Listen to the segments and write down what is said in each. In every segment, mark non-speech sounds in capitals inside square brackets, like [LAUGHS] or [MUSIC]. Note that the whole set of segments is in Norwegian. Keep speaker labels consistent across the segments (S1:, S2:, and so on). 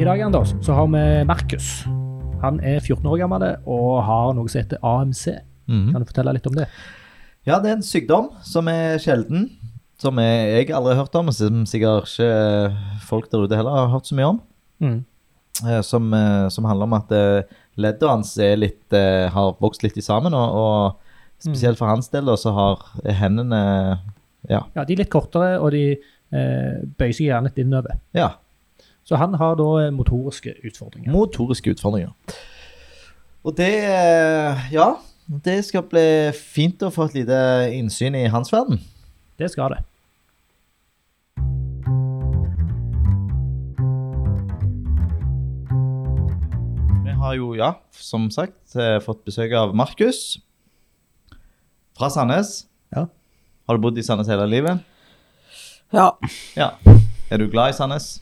S1: I dag Anders, så har vi Markus. Han er 14 år gammel og har noe som heter AMC. Kan du fortelle litt om det?
S2: Ja, det er en sykdom som er sjelden. Som jeg jeg aldri har hørt om, og som sikkert ikke eh, folk der ute heller har hørt så mye om. eh, Som, eh, som handler om at eh, leddet hans er litt, eh, har vokst litt i sammen. Og, og spesielt for hans del, da, så har hendene Ja.
S1: Ja, De er litt kortere, og de eh, bøyer seg gjerne litt innover.
S2: ja
S1: Så han har da eh, motoriske utfordringer.
S2: motoriske utfordringer. Og det eh, Ja. Det skal bli fint å få et lite innsyn i hans verden.
S1: Det skal det.
S2: Vi har jo, ja, som sagt, eh, fått besøk av Markus fra Sandnes.
S1: Ja.
S2: Har du bodd i Sandnes hele livet?
S3: Ja.
S2: Ja. Er du glad i Sandnes?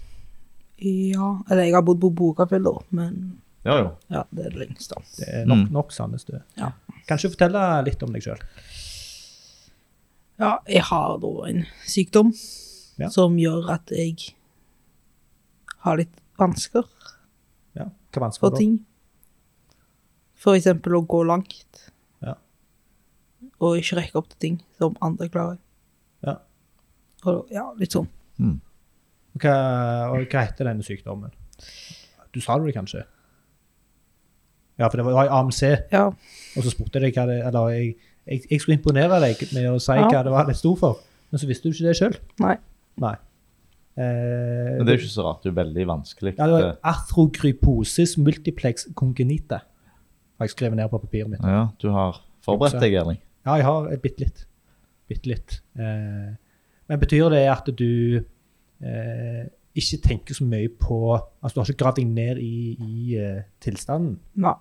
S3: ja. Eller jeg har bodd på Bokafjell, da, men
S2: Jo, jo.
S3: ja, det er lengst, da.
S1: Det er nok,
S2: Mm.
S1: nok Sandnes, du.
S3: Ja.
S1: Kan ikke du fortelle litt om deg sjøl?
S3: Ja, jeg har da en sykdom
S1: Ja.
S3: som gjør at jeg har litt vansker
S1: Ja. Hva vansker
S3: for
S1: du?
S3: ting. For eksempel å gå langt.
S1: Ja.
S3: Og ikke rekke opp til ting som andre klarer.
S1: Ja.
S3: Og, ja, litt sånn.
S1: Hva, og hva heter denne sykdommen? Du sa det kanskje? Ja, for det var jo AMC,
S3: Ja.
S1: og så spurte jeg deg hva det Eller jeg, jeg, jeg skulle imponere deg med å si
S3: Ja.
S1: hva det var det sto for, men så visste du ikke det sjøl.
S3: Nei.
S1: Nei. Eh,
S2: Men det er jo ikke så rart. Det er jo veldig vanskelig.
S1: ja, det var arthrogryposis multiplex congenita. Har jeg skrevet ned på papiret mitt.
S2: eh, ja, du har forberedt deg, Erling.
S1: Ja, jeg har et bitte litt. Bitte litt. Eh, men betyr det at du eh, ikke tenker så mye på Altså, du har ikke gravd deg ned i, i eh, tilstanden?
S3: Nei.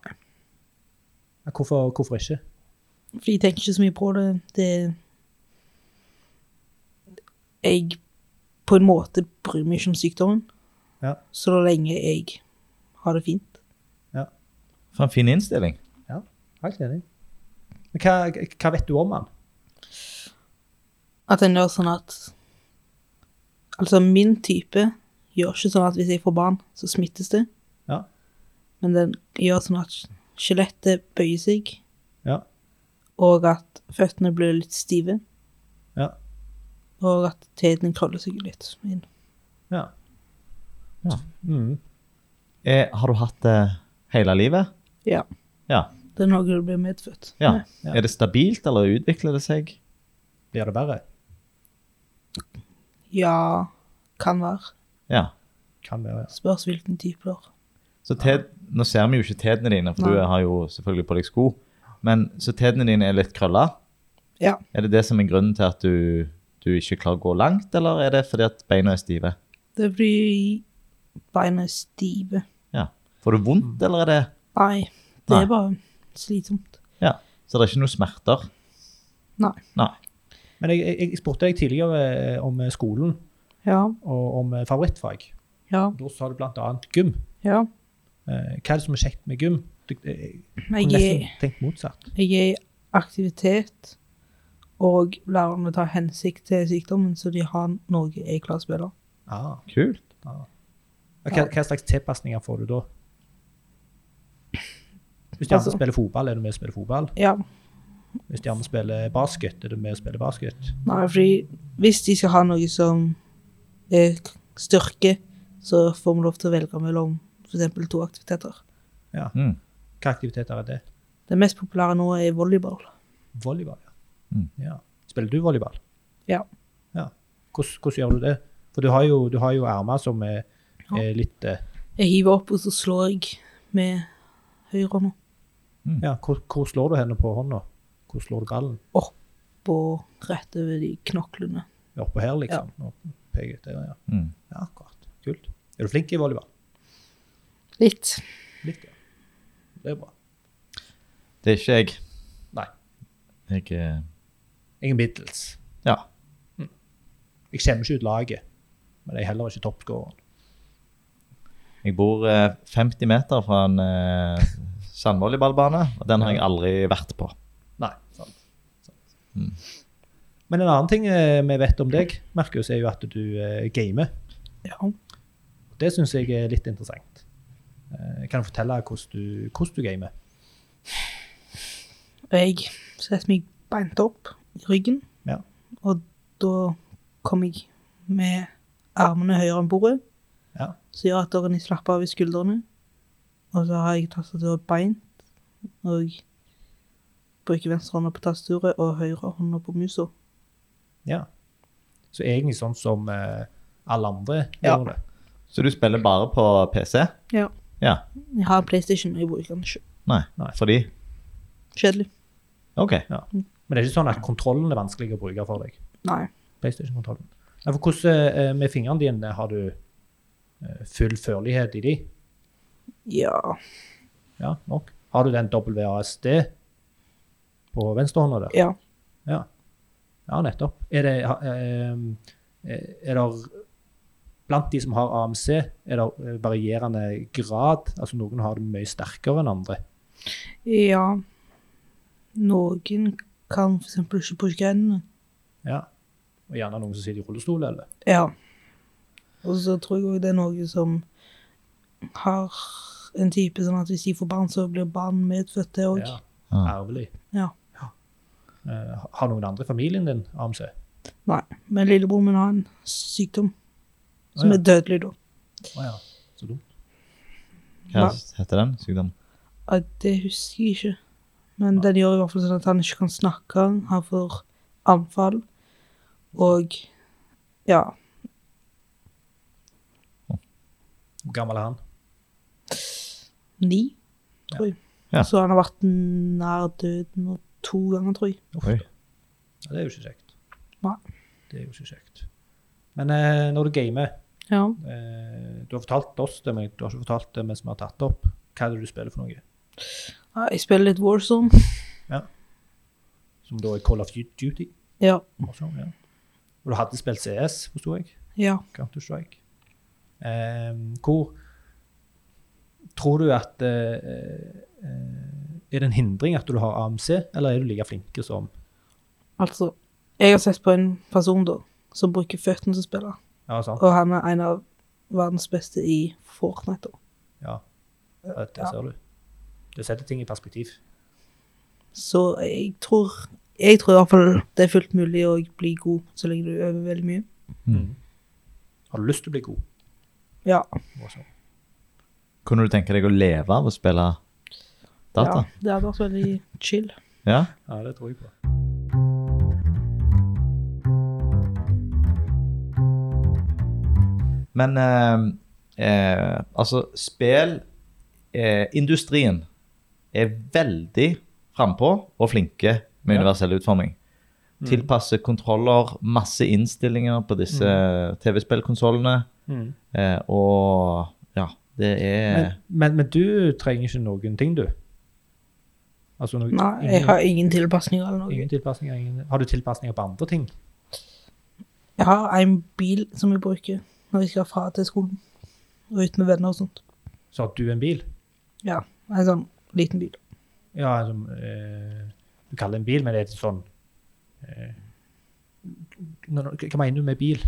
S1: Ja, hvorfor, hvorfor ikke?
S3: For jeg tenker ikke så mye på det. Det Jeg på en måte bryr meg ikke om sykdommen.
S1: Ja.
S3: Så lenge jeg har det fint.
S2: For en fin innstilling.
S1: Helt enig. Men hva, hva vet du om han?
S3: At en gjør sånn at Altså, min type gjør ikke sånn at hvis jeg får barn, så smittes det.
S1: Ja.
S3: Men den gjør sånn at skjelettet bøyer seg,
S1: Ja.
S3: og at føttene blir litt stive.
S1: Ja.
S3: Og at teten krøller seg litt inn.
S1: Ja.
S2: Ja.
S1: Mm.
S2: Eh, har du hatt det hele livet?
S3: Ja.
S2: Ja.
S3: Det er noe du blir medfødt.
S2: ja.
S3: med.
S1: Ja.
S2: Er det stabilt, eller utvikler det seg?
S1: Blir det verre?
S3: Ja, kan være.
S2: Ja.
S1: Kan være. ja.
S3: Spørs hvilken type det er.
S2: Så ted, nå ser vi jo ikke tedene dine, for du
S3: Nei.
S2: har jo selvfølgelig på deg sko. Men så tedene dine er litt krølla.
S3: Ja.
S2: Er det det som er grunnen til at du, du ikke klarer å gå langt, eller er det fordi at beina er stive?
S3: Det blir beina stive.
S2: Ja. Får du
S1: Mm.
S2: vondt, eller er det
S3: Nei, det
S2: Nei.
S3: er bare slitsomt.
S2: Ja. Så det er ikke noe smerter?
S3: Nei.
S2: Nei.
S1: Men jeg, jeg, jeg spurte deg tidligere eh, om eh, skolen
S3: Ja,
S1: og om eh, favorittfag.
S3: ja,
S1: Da sa du blant annet gym.
S3: ja.
S1: Eh, Hva er det som er kjekt med gym? Du- Jeg jeg
S3: Jeg
S1: kunne
S3: er,
S1: nesten tenkt motsatt.
S3: jeg er i aktivitet, og lærerne tar hensikt til sykdommen, så de har noe jeg klarer å spille.
S1: Ah.
S2: Kult.
S1: Hva, hva slags tilpasninger får du da? Hvis de andre
S3: Altså-
S1: spiller fotball, er du med og spiller fotball?
S3: Ja,
S1: Hvis de andre spiller basket, er du med og spiller basket?
S3: nei, fordi hvis de skal ha noe som er k- styrke, så får vi lov til å velge mellom for eksempel to aktiviteter.
S2: Mm.
S1: Hva aktiviteter er det?
S3: Det mest populære nå er volleyball.
S1: Volleyball, ja.
S2: Mm.
S1: ja. Spiller du volleyball?
S3: Ja.
S1: ja. Hvordan, hvordan gjør du det? For du har jo, du har jo armer som er,
S3: Ja.
S1: er litt eh,
S3: Jeg hiver opp, og så slår jeg med høyrehånda
S1: Ja, hvor, hvor slår du henne på hånda? Hvor slår du ballen?
S3: opp og rett over de knoklene.
S1: Oppå her, liksom? Og peker ut der, ja.
S2: Mm.
S1: ja, akkurat. Kult. Er du flink i volleyball?
S3: Litt.
S1: Litt, ja. Det er bra.
S2: Det er ikke jeg.
S1: Nei.
S2: Jeg eh,
S1: Jeg er middels.
S2: Ja.
S1: Jeg skjemmer ikke ut laget, men jeg er heller ikke toppskåreren.
S2: Jeg bor eh, 50 meter fra en eh, sandvolleyballbane, og den har jeg aldri vært på.
S1: Nei. Sant. sant. Men en annen ting eh, vi vet om deg, Markus, er jo at du eh, gamer.
S3: Ja.
S1: Det syns jeg er litt interessant. Eh, Kan du fortelle hvordan du, hvordan du gamer?
S3: Og jeg setter meg beint opp i ryggen.
S1: Ja.
S3: Og da kom jeg med armene høyere enn bordet,
S1: Ja.
S3: så gjør at dørene slapper av i skuldrene. Og så har jeg tastaturet beint, og bruker venstre hånda på tastaturet og høyre hånda på musa.
S1: ja. Så egentlig sånn som eh, alle andre
S3: Ja.
S1: gjør det.
S2: Så du spiller bare på PC?
S3: Ja.
S2: Ja.
S3: Jeg har en PlayStation, og jeg bruker den ikke.
S2: Nei.
S1: Nei.
S2: Fordi
S3: Kjedelig.
S2: OK.
S1: Men det er ikke sånn at kontrollen er vanskelig å bruke for deg.
S3: Nei.
S1: PlayStation-kontrollen. Ja, for hvordan eh, med fingrene dine har du eh, full førlighet i de?
S3: Ja.
S1: Ja, nok. Har du den WASD på venstrehånda der?
S3: Ja.
S1: Ja, nettopp. Er det, ha- ehm, eh, er det Blant de som har AMC, er det eh, varierende grad? Altså noen har det mye sterkere enn andre.
S3: Ja. Noen kan for eksempel ikke bruke hendene.
S1: Ja. Og gjerne noen som sitter i rullestol, eller?
S3: Ja. Og så tror jeg òg det er noe som har en type sånn at hvis de får barn, så blir barn medfødt, det òg.
S1: Ja.
S2: Ja.
S1: Arvelig.
S3: Ja.
S1: Eh, har noen andre i familien din AMC?
S3: Nei. Men lillebror min har en sykdom som
S1: Å, ja.
S3: er dødelig, da.
S1: Å ja. Så dumt.
S2: Hva
S3: Nei.
S2: heter den? Sykdom?
S3: Ja, det husker jeg ikke. Men den gjør i hvert fall sånn at han ikke kan snakke, han får anfall, og ja.
S1: Hvor gammel er han?
S3: Ni, tror jeg.
S2: Ja.
S3: Så han har vært nær døden to ganger, tror jeg.
S2: Oi.
S1: Ja, det er jo ikke kjekt.
S3: Nei.
S1: Det er jo ikke kjekt. Men eh, når du gamer
S3: Ja.
S1: eh, Du har fortalt oss det, men du har ikke fortalt det mens vi har tatt det opp. Hva er det du spiller for noe?
S3: Ja, Jeg spiller litt Warzone.
S1: Som da er Call of Duty?
S3: Ja.
S1: Også, ja. Og du hadde spilt CS, forsto jeg.
S3: Ja.
S1: Counter-Strike. Eh, hvor tror du at eh, eh, Er det en hindring at du har AMC, eller er du like flinke som
S3: Altså, jeg har sett på en person da, som bruker føttene til å spille,
S1: Ja, altså, sant?
S3: og han er en av verdens beste i Fortnite da.
S1: Ja. Ja, Det ser du. Det setter ting i perspektiv.
S3: Så jeg tror, jeg tror i hvert fall det er fullt mulig å bli god, så lenge du øver veldig mye.
S2: Mm.
S1: Har du lyst til å bli god? sånn.
S3: Ja,
S1: Også?
S2: Kunne du tenke deg å leve av å spille data?
S3: ja det hadde vært veldig chill.
S2: Ja.
S1: Ja, det tror jeg på.
S2: Men eh, eh, altså, spillindustrien er veldig frampå og flinke med
S1: Ja.
S2: universell utforming. Tilpasse kontroller, masse innstillinger på disse TV-spillkonsollene.
S1: Mm.
S2: Eh, og ja, det er
S1: Men, men, men du trenger ikke noen ting, du? Altså noe,
S3: Nei, jeg har ingen tilpasninger eller
S1: ingen,
S3: noe.
S1: ingen tilpasninger? Ingen, har du tilpasninger på andre ting?
S3: Jeg har en bil som jeg bruker når jeg skal fra til skolen, og ut med venner og sånt.
S1: Så har du en bil?
S3: Ja, en sånn liten bil.
S1: Ja, altså, eh, du kaller det en bil, men det er ikke sånn eh, nå- nå- Hva mener du med bil?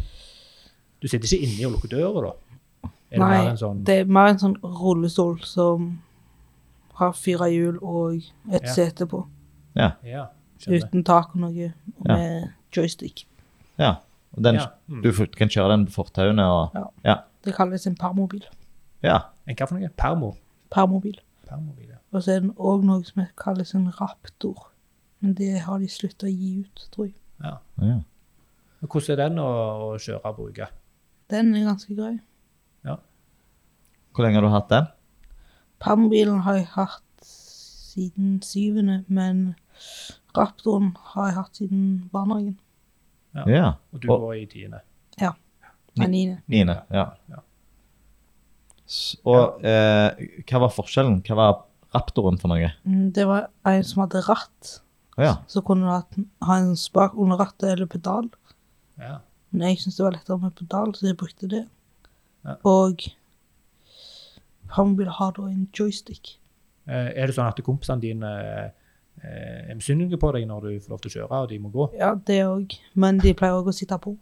S1: Du sitter ikke inne og lukker døra, da? Er det
S3: Nei,
S1: mer en sånn
S3: Det er mer en sånn rullestol som har fire hjul og et
S1: Ja.
S3: sete på.
S1: Ja, skjønner.
S3: Uten tak og noe, og
S2: Ja.
S3: med joystick.
S2: Ja. og Den,
S1: Ja, mm.
S2: Du får- kan kjøre den på fortauene og
S3: Ja.
S2: Ja.
S3: Det kalles en permobil.
S2: ja.
S1: En hva for noe? Permo?
S3: Permobil.
S1: Permobil, ja.
S3: Og så er den òg noe som kalles en raptor. Men det har de slutta å gi ut, tror jeg.
S1: ja.
S2: ja.
S1: Men Hvordan er den å, å kjøre og bruke?
S3: Den er ganske grei.
S2: Hvor lenge har du hatt den?
S3: Permobilen har jeg hatt siden syvende, men raptoren har jeg hatt siden barnehagen.
S1: Ja.
S2: Ja.
S1: Og du
S2: Og-
S1: går i tiende?
S3: Nei, niende.
S2: Niende. Ja. S- Og eh, hva var forskjellen? Hva var raptoren for noe?
S3: Mm, Det var en som hadde ratt.
S2: Å ja.
S3: Så kunne du hatt- ha en spak under rattet eller pedal.
S1: Ja.
S3: Men jeg syntes det var lettere med pedal, så jeg brukte det.
S1: Ja.
S3: Og Hambil har da en joystick.
S1: Eh, Er det sånn at kompisene dine eh, er misunnelige på deg når du får lov til å kjøre, og de må gå?
S3: Ja, det òg. Men de pleier òg å sitte på.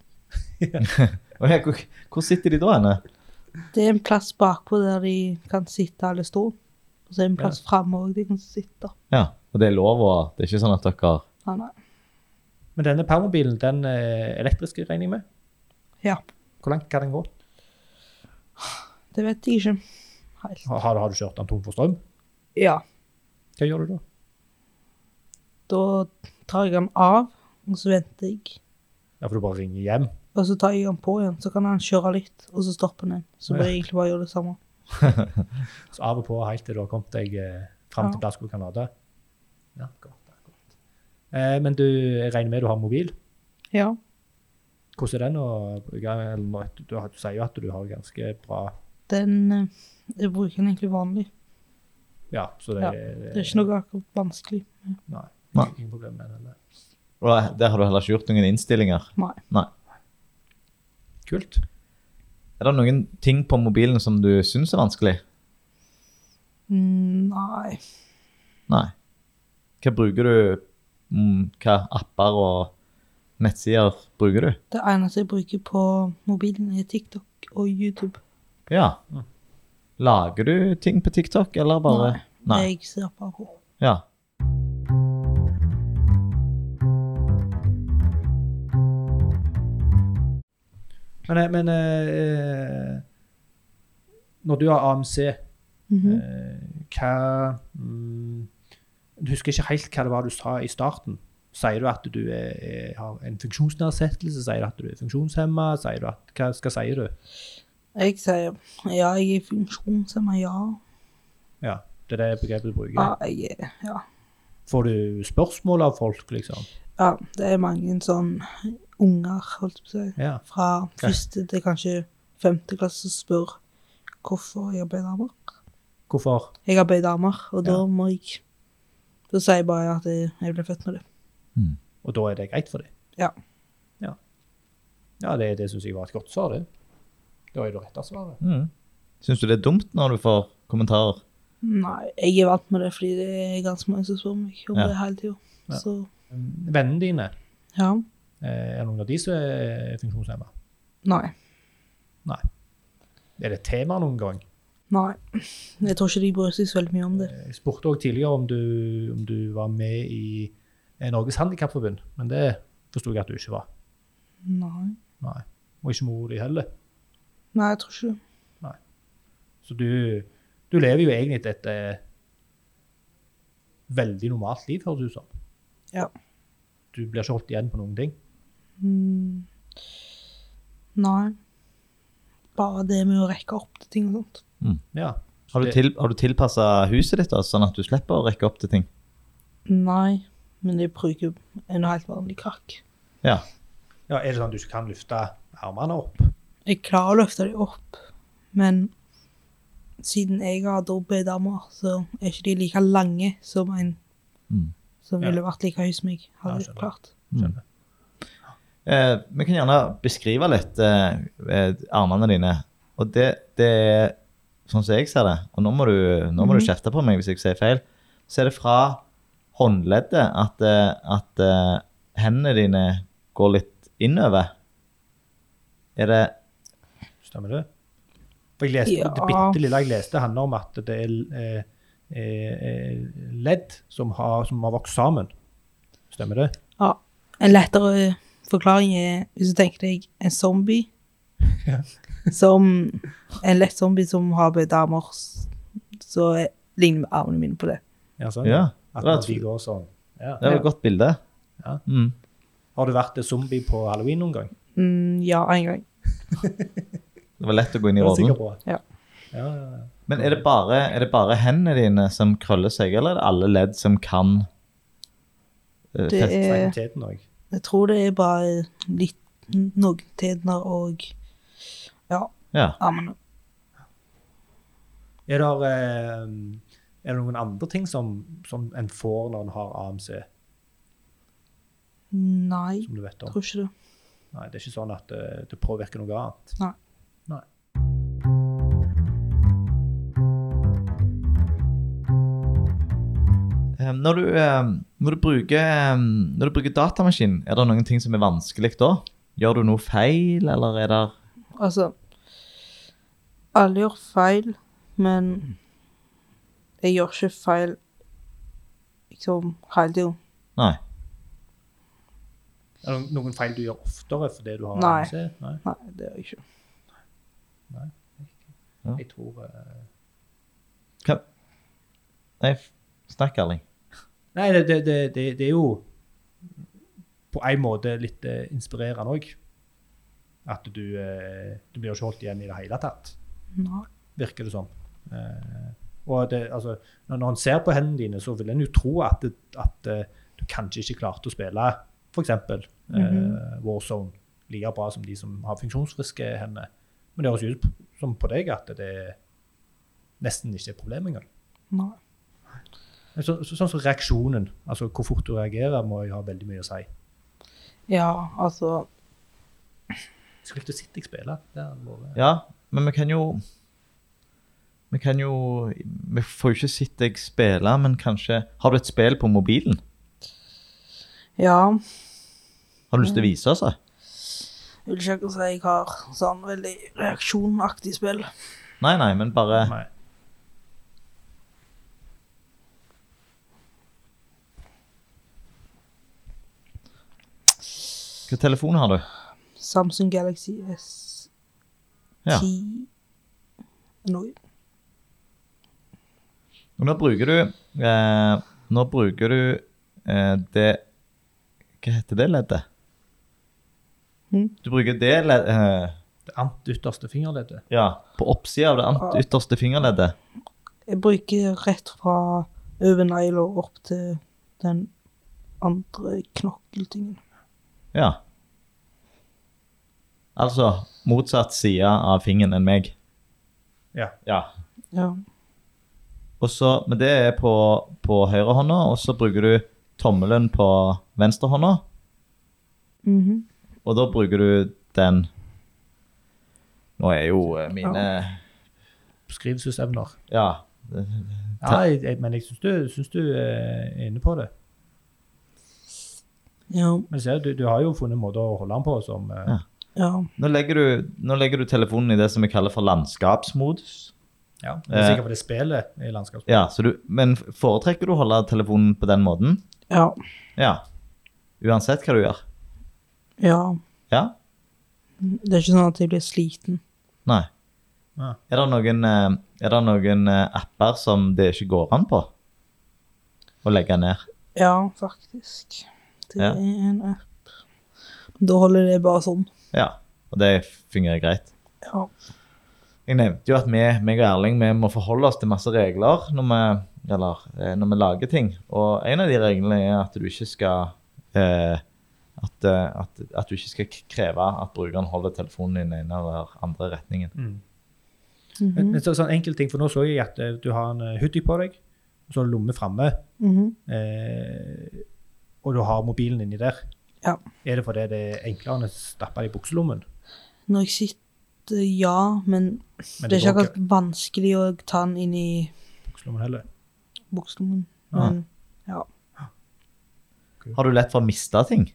S2: Og her, hvor, hvor sitter de da henne?
S3: Det er en plass bakpå der de kan sitte alle stol. Og så er det en plass framme òg de kan sitte.
S2: Ja, og det er lov, og det er ikke sånn at dere
S3: Nei, nei.
S1: Men denne permobilen, den eh, elektriske regner jeg med.
S3: Ja.
S1: Hvor langt kan den gå?
S3: Det vet jeg ikke helt.
S1: Har, har du kjørt den tom for strøm?
S3: Ja.
S1: Hva gjør du da?
S3: Da tar jeg den av, og så venter jeg.
S1: Ja, for du bare ringer hjem.
S3: Og så tar jeg den på igjen, så kan han kjøre litt, og så stopper den igjen. Så bør
S1: Ja.
S3: jeg egentlig bare gjøre det samme.
S1: Så av og på helt til du har kommet deg eh, fram
S3: Ja.
S1: til plass hvor du kan lade. Ja, godt, ja, godt. Eh, men du jeg regner med du har mobil.
S3: Ja.
S1: Hvordan er den å bruke? Eller, nå vet du, du, har- du sier jo at du har ganske bra
S3: Den eh, Jeg bruker den egentlig vanlig.
S1: Ja, så det,
S3: Ja, Det er ikke noe akkurat vanskelig.
S1: Nei.
S2: Nei.
S1: Ingen problem med den. der.
S2: Og der har du heller ikke gjort noen innstillinger.
S3: Nei.
S1: Kult.
S2: Er det noen ting på mobilen som du syns er vanskelig?
S3: Mm, Nei.
S2: Nei. Hva bruker du mm, Hva apper og nettsider bruker du?
S3: Det eneste jeg bruker på mobilen, er TikTok og YouTube.
S2: Ja.
S1: Mm.
S2: Lager du ting på TikTok, eller bare Nei.
S3: Det jeg ser bare på.
S2: Ja.
S1: Men, eh, men eh, eh, når du har AMC,
S3: Mhm.
S1: eh, hva mm, Du husker ikke helt hva det var du sa i starten. Sier du at du er, er, har en funksjonsnedsettelse? Sier du at du er funksjonshemma? Sier du at, hva skal sier du?
S3: Jeg sier ja, jeg er funksjonshemma, ja.
S1: Ja, det er det begrepet du bruker.
S3: Ja, jeg er ja.
S1: Får du spørsmål av folk, liksom?
S3: ja. Det er mange sånn unger, holdt jeg på å si,
S1: Ja.
S3: fra første til kanskje femte klasse som spør hvorfor jeg ble damer.
S1: Hvorfor?
S3: Jeg har bedt damer, og da
S1: Ja.
S3: må jeg Da sier jeg bare at jeg, jeg ble født med det.
S1: Og da er det greit for dem?
S3: Ja.
S1: Ja, ja det, det syns jeg var et godt svar, det. Det var jo det rette svaret.
S2: Mm. Syns du det er dumt når du får kommentarer?
S3: Nei, jeg er vant med det, fordi det er ganske mange som spør meg om
S2: Ja.
S3: det hele tida.
S1: Ja.
S3: Så
S1: Vennene dine,
S3: ja.
S1: eh, er noen av de som er funksjonshemma?
S3: Nei.
S1: Er det et tema noen gang?
S3: Nei. Jeg tror ikke de bryr seg så veldig mye om det.
S1: Jeg spurte også tidligere om du, om du var med i eh, Norges Handikapforbund, men det forsto jeg at du ikke var.
S3: Nei.
S1: Nei. Og ikke mor di heller.
S3: Nei, jeg tror ikke det.
S1: Så du, du lever jo egentlig et, et eh, veldig normalt liv, høres det ut som.
S3: Ja.
S1: Du blir ikke holdt igjen på noen ting.
S3: Mm. Nei. Bare det med å rekke opp til ting og sånt.
S1: Ja.
S2: Har du,
S1: Det-
S2: til, har du tilpassa huset ditt, da, sånn at du slipper å rekke opp til ting?
S3: Nei, men jeg bruker en helt vanlig krakk.
S2: Ja.
S1: ja. Er det sånn at du ikke kan løfte armene opp?
S3: Jeg klarer å løfte dem opp, men siden jeg har dobbeltdamer, så er ikke de like lange som en
S2: Mm.
S3: som
S1: Ja.
S3: ville vært like høy som meg.
S1: Ja,
S3: Hadde
S1: skjønner.
S3: klart.
S1: Skjønner.
S2: Eh, vi kan gjerne beskrive litt eh, eh, armene dine. Og det, det er sånn som jeg ser det, og nå må du, nå må du
S3: Mhm.
S2: kjefte på meg hvis jeg sier feil, så er det fra håndleddet at, eh, at eh, hendene dine går litt innover. Er det
S1: Stemmer det? For jeg leste,
S3: Ja.
S1: Det bitte lille jeg leste, handler om at det er eh, eh, eh, ledd som har, som har vokst sammen. Stemmer det?
S3: Ja. En lettere forklaring er hvis du tenker deg en zombie
S1: [LAUGHS] Ja.
S3: som En lett zombie som har damer, så er- ligner armene mine på det.
S1: Ja, sånn.
S2: Ja.
S1: At
S2: det var
S1: når
S2: et-
S1: de går sånn. Ja.
S2: Det var et godt bilde.
S1: Ja.
S2: Mm.
S1: Har du vært zombie på halloween noen gang?
S3: Mm, ja, en gang.
S2: Det var lett å gå inn
S1: Det
S2: i
S1: er jeg sikker
S2: rollen.
S1: på.
S3: Ja.
S1: Ja, ja, ja.
S2: Men er det, bare, er det bare hendene dine som krøller seg, eller er det alle ledd som kan eh,
S3: Det
S2: feste-
S3: er
S1: Teten òg.
S3: Jeg tror det er bare litt noen tenner og ja,
S2: Ja.
S3: armene.
S1: Er det, eh, er det noen andre ting som, som en får når en har AMC,
S3: Nei,
S1: som du vet om?
S3: tror ikke det.
S1: Nei, det er ikke sånn at det, det påvirker noe annet.
S3: Nei.
S1: Nei.
S2: Eh, Når du, eh, når, du bruker, eh, når du bruker datamaskin, er det noen ting som er vanskelig da? Gjør du noe feil, eller er det
S3: Altså Alle gjør feil, men jeg gjør ikke feil liksom hele tiden.
S2: Nei.
S1: Er det noen feil du gjør oftere fordi du har
S3: Nei.
S1: AMC? Nei.
S3: Nei, det gjør jeg ikke.
S2: Ja.
S1: Jeg tror eh,
S2: Nei, f- snakk, Erling.
S1: Nei, det, det, det, det, det er jo på en måte litt eh, inspirerende òg. At du, eh, du blir jo ikke holdt igjen i det hele tatt,
S3: Nei.
S1: virker det som. Eh, og det, altså, når, når en ser på hendene dine, så vil en jo tro at, det, at eh, du kanskje ikke klarte å spille f.eks. Mm eh,
S3: Mhm.
S1: Warzone like bra som de som har funksjonsfriske hender. Men det høres jo ut p- som på deg at det nesten ikke er et problem engang.
S3: Nei.
S1: Men Så, så, sånn som reaksjonen, altså hvor fort du reagerer, må jo ha veldig mye å si.
S3: Ja, altså
S1: Skulle ikke sett deg spille. Det hadde vært
S2: Ja, men vi kan jo Vi kan jo Vi får jo ikke sett deg spille, men kanskje Har du et spill på mobilen?
S3: Ja.
S2: Har du lyst til å vise oss det?
S3: Jeg vil ikke akkurat si jeg har sånn veldig reaksjonaktig spill.
S2: Nei, nei, men bare
S1: Nei.
S2: Hvilken telefon har du?
S3: Samsung Galaxy S10
S2: Ja.
S3: Noe.
S2: Og nå bruker du eh, Nå bruker du eh, det Hva heter det leddet?
S3: Mhm.
S2: Du bruker det leddet eh,
S1: Det ant ytterste fingerleddet.
S2: Ja, på oppsida av det ant- ytterste fingerleddet.
S3: Jeg bruker rett fra overnegla opp til den andre knokkeltingen.
S2: Ja. Altså motsatt side av fingeren enn meg.
S1: Ja.
S2: ja.
S3: Ja.
S2: Og så, men det er på, på høyre hånda, og så bruker du tommelen på venstre hånda,
S3: Mhm.
S2: og da bruker du den. Nå er jo eh, mine,
S1: Skrivesystemner.
S2: ja,
S1: Ja, jeg, jeg, men jeg syns du, syns du eh, er inne på det.
S3: ja.
S1: Men ser, du, du har jo funnet måter å holde den på som eh,
S2: Ja.
S3: Ja.
S2: nå legger, du, nå legger du telefonen i det som vi kaller for landskapsmodus.
S1: Ja, det er sikkert fordi spillet er i landskapsspillet.
S2: Ja, så du, men foretrekker du å holde telefonen på den måten?
S3: Ja.
S2: Ja, uansett hva du gjør.
S3: Ja.
S2: Ja,
S3: Det er ikke sånn at jeg blir sliten.
S2: nei.
S1: Ja.
S2: Er det noen, eh, er det noen eh, apper som det ikke går an på å legge ned?
S3: Ja, faktisk. Det
S2: Ja.
S3: er en app. Da holder det bare sånn.
S2: Ja, og det fungerer greit.
S3: Ja.
S2: Jeg nevnte jo at vi, meg og Erling vi må forholde oss til masse regler når vi, eller, eh, når vi lager ting. Og en av de reglene er at du ikke skal eh, at, eh, at, at du ikke skal k- kreve at brukeren holder telefonen i den ene eller andre retningen.
S1: Mm. Men,
S3: Mhm.
S1: men så, sånn enkel ting, for nå så jeg at eh, du har en eh, hoodie på deg, og så har du lomme framme,
S3: Mhm.
S1: eh, og du har mobilen inni der.
S3: Ja.
S1: Er det fordi det er enklere enn å stappe det i bukselommen?
S3: Når jeg sitter, ja, men
S1: Men
S3: det er ikke
S1: går
S3: akkurat vanskelig å ta den inn i
S1: i bukselommen heller.
S3: bukselommen.
S1: Ja.
S3: Men
S2: Har du lett for å miste ting?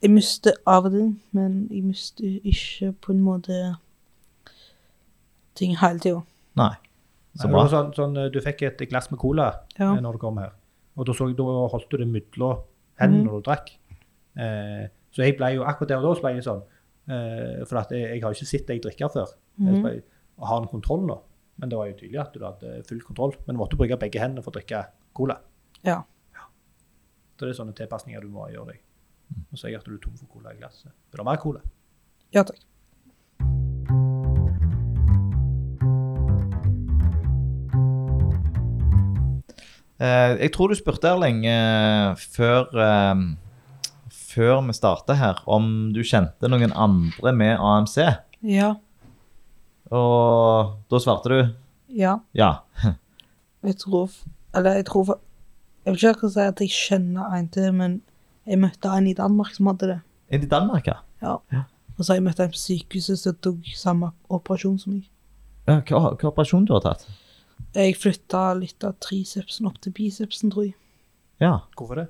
S3: jeg mister av og til, men jeg mister ikke på en måte ting hele tida.
S2: Nei.
S1: Nei,
S2: Så
S1: det
S2: bra.
S1: var Sånn, sånn, eh, du fikk et glass med cola
S3: Ja.
S1: eh, når du kom her, og da, så, jeg- da holdt du det mellom hendene
S3: Mhm.
S1: når du drakk. Eh, så jeg ble jo akkurat der og da så ble jeg sånn, eh, for at jeg, jeg har jo ikke sett deg drikke før.
S3: Mhm.
S1: Jeg har han kontroll nå? Men det var jo tydelig at du hadde full kontroll. Men du måtte bruke begge hendene for å drikke cola.
S3: Ja.
S1: Så det er sånne tilpasninger du må gjøre deg. Nå ser jeg at du er tom for cola i glasset. Vil du ha mer cola?
S3: Ja takk.
S2: Eh, jeg tror du spurte, Erling, eh, før, eh, før vi starta her, om du kjente noen andre med AMC.
S3: Ja.
S2: Og da svarte du
S3: Ja.
S2: ja.
S3: Jeg tror f- Eller jeg tror fa- Jeg vil ikke akkurat si at jeg kjenner en til, men jeg møtte en i Danmark som hadde det.
S2: Er det Danmark, ja?
S3: Og så har jeg møtt en på sykehuset som tok samme operasjon som meg.
S2: Ja, Hva, hva operasjon du har tatt?
S3: Jeg flytta litt av tricepsen opp til bicepsen, tror jeg.
S2: Ja.
S1: Hvorfor det?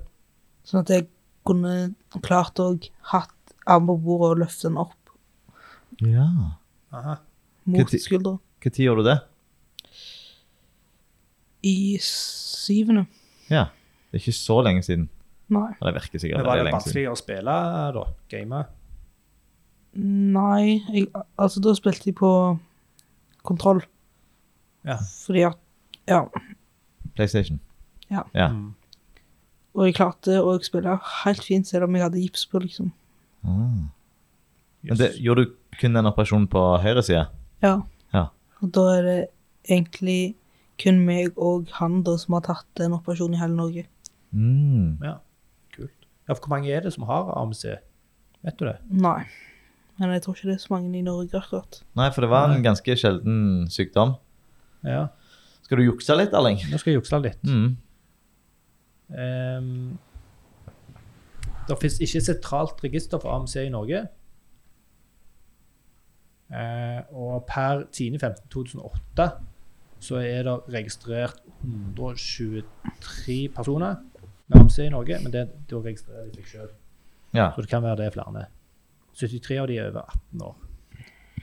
S3: Sånn at jeg kunne klart å hatt armen på bordet og løfte den opp.
S2: Ja.
S1: Aha.
S2: Hva
S3: mot
S2: tid-
S3: skuldra.
S2: Når gjør du det?
S3: I syvende.
S2: Ja. Det er ikke så lenge siden.
S3: Nei.
S2: Ja, Det virker
S1: Men
S2: sikkert det
S1: var
S2: er
S1: det
S2: lenge siden.
S1: vanskeligere å spille, da? Game?
S3: Nei, jeg, altså da spilte jeg på kontroll.
S1: Ja.
S3: Fordi at, ja.
S2: PlayStation. Ja.
S1: Mm.
S3: Og jeg klarte å spille helt fint, selv om jeg hadde gips på, liksom.
S2: Ah. Men
S1: Yes.
S2: det, gjorde du kun en operasjon på høyre side?
S3: Ja.
S2: Ja.
S3: Og da er det egentlig kun meg og han da som har tatt en operasjon i hele Norge.
S2: Mm.
S1: Ja, kult. Ja, for hvor mange er det som har AMC? Vet du det?
S3: Nei. Men jeg tror ikke det er så mange i Norge akkurat.
S2: Nei, for det var en ganske sjelden sykdom.
S1: Ja.
S2: Skal du jukse litt, Erling?
S1: Nå skal jeg jukse litt.
S2: Mm.
S1: Ehm, det finnes ikke et sentralt register for AMC i Norge. Eh, og per 10.15.2008 så er det registrert 123 personer med AMC i Norge, men det, da registrerer de seg sjøl.
S2: Ja.
S1: Så det kan være det er flere. 73 av de er over 18 år.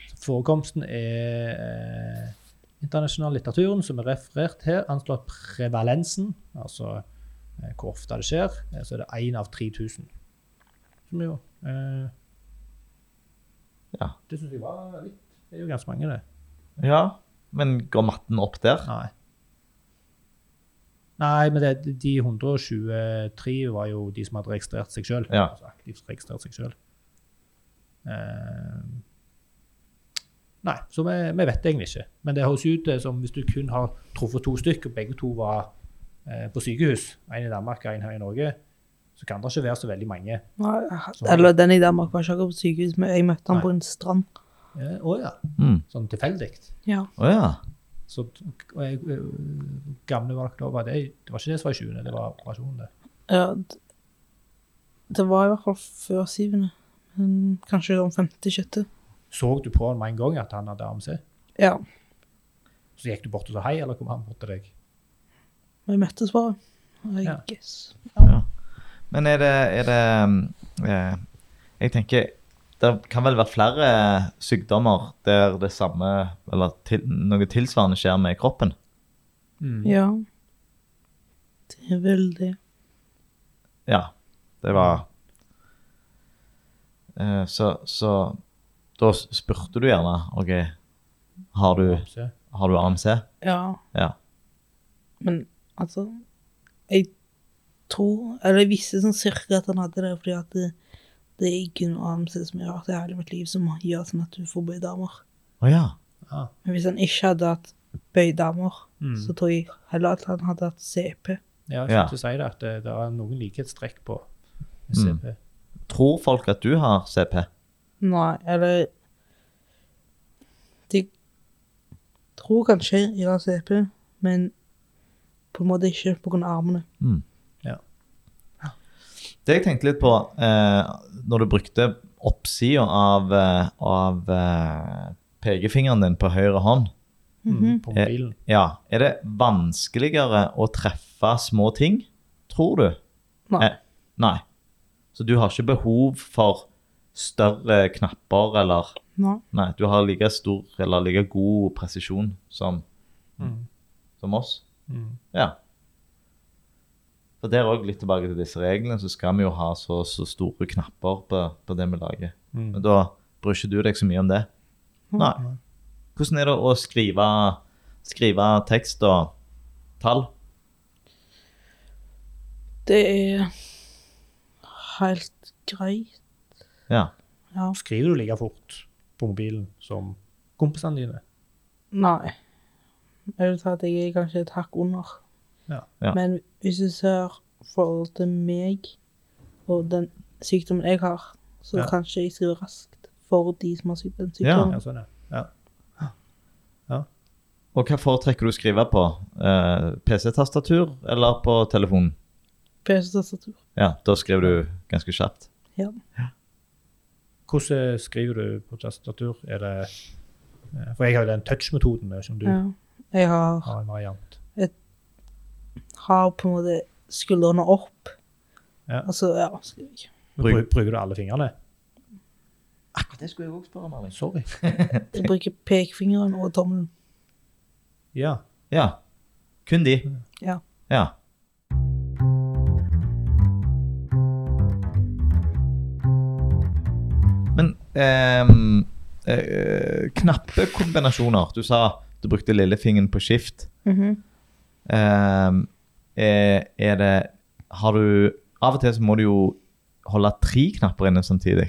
S1: Så Forekomsten er eh, internasjonal litteraturen, som er referert her, anslår prevalensen, altså eh, hvor ofte det skjer, eh, så er det én av 3000. Som jo eh,
S2: Ja.
S1: Det syns jeg var litt Det er jo ganske mange, det.
S2: ja. Men går matten opp der?
S1: Nei. Nei, men det, de 123 var jo de som hadde registrert seg sjøl.
S2: Ja.
S1: Altså aktivt registrert seg sjøl. nei, så vi, vi vet egentlig ikke. Men det høres ut eh, som hvis du kun har truffet to stykker, og begge to var eh, på sykehus, én i Danmark og én her i Norge, så kan det ikke være så veldig mange.
S3: Nei, jeg- Eller den i Danmark var ikke akkurat på sykehus, men jeg møtte han
S1: Nei.
S3: på en strand.
S1: Å eh, å ja.
S2: Å mm.
S1: Sånn tilfeldig.
S3: Ja.
S2: Å ja.
S1: Så og jeg, eh, gamle valg da var det Det var ikke det som var i 20., det var operasjonen, det.
S3: ja d- det var i hvert fall før syvende. Men kanskje om femte, sjette.
S1: Så du på ham med en gang at han hadde AMC?
S3: Ja.
S1: Så gikk du bort og sa hei, eller kom han bort til deg?
S3: Og jeg møttes bare. Og jeg
S1: Ja.
S3: guess.
S2: ja. Men er det, er det mm, eh, Jeg tenker det kan vel være flere sykdommer der det samme, eller til, noe tilsvarende skjer med kroppen.
S1: Mm.
S3: Ja. Det er vel det.
S2: Ja, det var Eh, Så, så da s- spurte du gjerne OK, har du,
S1: AMC.
S2: har du AMC?
S3: Ja.
S2: Ja.
S3: Men altså Jeg tror Eller jeg visste sånn cirka at han hadde det, fordi at det, det er kun AMC som jeg har hatt i hele mitt liv, som gjør sånn at du får bøyde armer.
S2: Å ja.
S1: Ah,
S3: Men hvis han ikke hadde hatt bøyde armer,
S1: Mm.
S3: så tror jeg heller at han hadde hatt CP.
S1: ja, jeg
S2: Ja.
S1: skulle til å si det, at det, det er noen likhetstrekk på
S2: Mm.
S1: CP.
S2: Tror folk at du har CP?
S3: Nei, eller De tror kanskje jeg har CP, men på en måte ikke på grunn av armene.
S2: Det jeg tenkte litt på eh, når du brukte oppsida av, eh, av eh, pekefingeren din på høyre hånd
S1: Mm,
S3: Mhm.
S1: På mobilen.
S2: Ja, Er det vanskeligere å treffe små ting, tror du?
S3: Nei.
S2: Eh, Nei. Så du har ikke behov for større knapper eller
S3: Nei.
S2: Nei, du har like stor eller like god presisjon som,
S1: Mm.
S2: som oss.
S1: Mm.
S2: Ja. For der òg, litt tilbake til disse reglene, så skal vi jo ha så, så store knapper på, på det vi lager.
S1: Mm.
S2: Men da bryr ikke du deg så mye om det. Nei. Hvordan er det å skrive, skrive tekst og tall?
S3: Det er helt greit.
S2: Ja.
S3: Ja.
S1: Skriver du like fort på mobilen som kompisene dine?
S3: Nei. Jeg vil si at jeg er kanskje et hakk under.
S1: Ja.
S2: Ja.
S3: Men hvis du ser forhold til meg og den sykdommen jeg har, så
S1: Ja.
S3: kanskje jeg skriver raskt for de som har syk den
S2: Ja.
S1: Ja,
S3: sykdommen.
S1: sånn, ja.
S2: Og hva foretrekker du å skrive på? Eh, PC-tastatur eller på telefonen?
S3: PC-tastatur.
S2: Ja, da skriver du ganske kjapt.
S3: Ja.
S1: Hvordan eh, skriver du på tastatur? Er det eh, For jeg har jo den touch-metoden, jeg vet ikke om du
S3: ja. Jeg har,
S1: har en variant.
S3: har på en måte skuldrene opp.
S1: Ja.
S3: Altså, ja, skriver jeg.
S1: Men
S2: Bruk-
S1: bru- Bruker du alle fingrene?
S2: Akkurat det skulle jeg også spørre om, Erling.
S1: Sorry.
S3: Jeg bruker pekefingeren og tommelen.
S1: Ja.
S2: Ja. Kun de.
S3: Ja.
S2: Ja. Men ehm, eh, knappe kombinasjoner. Du sa du brukte lillefingeren på skift.
S3: Mhm.
S2: Ehm, er, er det Har du Av og til så må du jo holde tre knapper inne samtidig.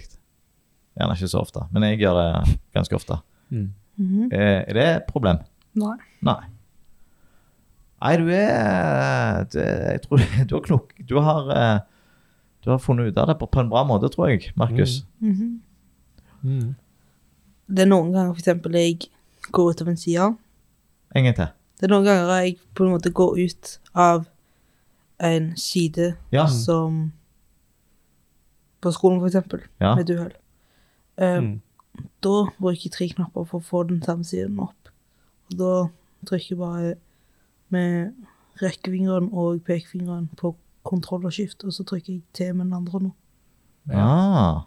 S2: Gjerne ikke så ofte, men jeg gjør det ganske ofte.
S1: Mm.
S3: Mhm.
S2: Eh, er det et problem?
S3: Nei.
S2: Nei. Nei, du er du, er- Jeg tror [LAUGHS] du har knok... Du har, eh, du har funnet ut av det på, på en bra måte, tror jeg, Markus.
S3: Mhm.
S1: Mm.
S3: Det er noen ganger for eksempel jeg går ut av en side. Mm.
S2: En gang til.
S3: Det er noen ganger jeg på en måte går ut av en side
S2: Ja.
S3: som På skolen, for eksempel,
S2: ja.
S3: med et uhell. Eh,
S1: Mm.
S3: Da bruker jeg tre knapper for å få den samme siden opp. Og da trykker jeg bare med rekkefingeren og pekefingeren på kontroll og skift, og så trykker jeg til med den andre nå.
S1: Ja.
S2: Ah,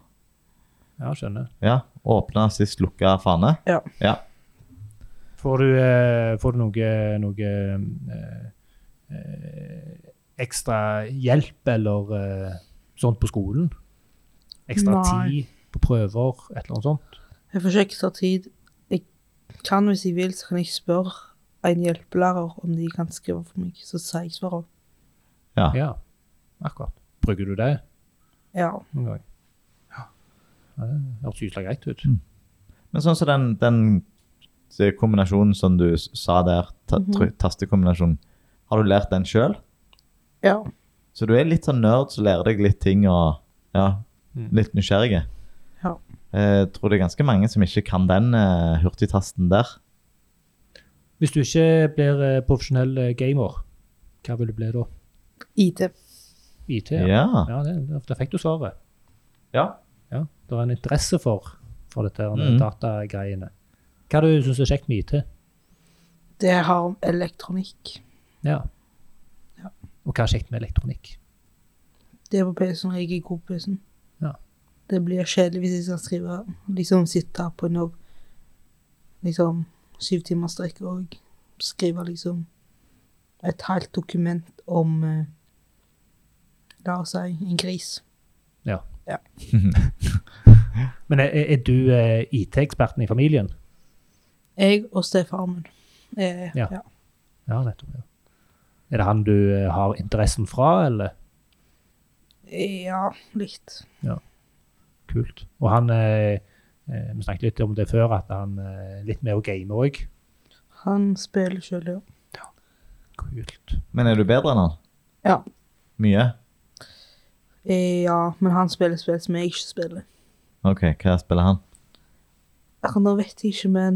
S1: ja, skjønner.
S2: ja. Åpne sist, lukke fane.
S1: Får du, eh, får du noe, noe eh, eh, ekstra hjelp eller eh, sånt på skolen? Ekstra
S3: Nei.
S1: tid på prøver, et eller annet sånt?
S3: Jeg får ikke ta tid. Jeg kan, hvis jeg vil, så kan jeg spørre en hjelpelærer om de kan skrive for meg, så sier jeg svaret.
S2: Ja.
S1: Ja, akkurat. Bruker du det
S3: Ja.
S1: noen gang? Ja. Det høres utslag greit ut.
S2: Men sånn som den, den kombinasjonen som du s- sa der, ta,
S3: Mhm.
S2: try- tastekombinasjonen, har du lært den sjøl?
S3: Ja.
S2: Så du er litt sånn nerd som lærer deg litt ting og ja,
S1: Mm.
S2: litt nysgjerrige.
S3: Ja.
S2: Jeg tror det er ganske mange som ikke kan den eh, hurtigtasten der.
S1: Hvis du ikke blir eh, profesjonell eh, gamer, hva vil du bli da?
S3: IT.
S1: IT?
S2: Ja.
S1: Ja, ja det, det- der fikk du svaret.
S2: Ja.
S1: Ja, det er en interesse for, for dette her
S2: Mm.
S1: med datagreiene. Hva du syns er kjekt med IT?
S3: Det har om elektronikk.
S1: Ja.
S3: Ja.
S1: Og hva er kjekt med elektronikk?
S3: Det er på PC-en, og jeg er god på PC-en.
S1: Ja.
S3: Det blir kjedelig hvis jeg skal skrive, liksom sitte her på en jobb, liksom syv timer strekk og skrive liksom et helt dokument om, eh, la oss si, en gris.
S1: Men er, er du eh, IT-eksperten i familien?
S3: Jeg og stefaren min. Eh,
S1: Ja.
S3: ja.
S1: Ja, nettopp. Ja. Er det han du eh, har interessen fra, eller?
S3: Ja, litt.
S1: Kult. Og han eh, eh, Vi snakket litt om det før, at han eh, er litt med å game òg.
S3: Han spiller selv, ja.
S1: Kult.
S2: Men er du bedre enn han?
S3: Ja.
S2: Mye?
S3: Eh, ja, men han spiller spill som jeg ikke spiller.
S2: OK, hva spiller han?
S3: Akkurat nå vet jeg ikke, men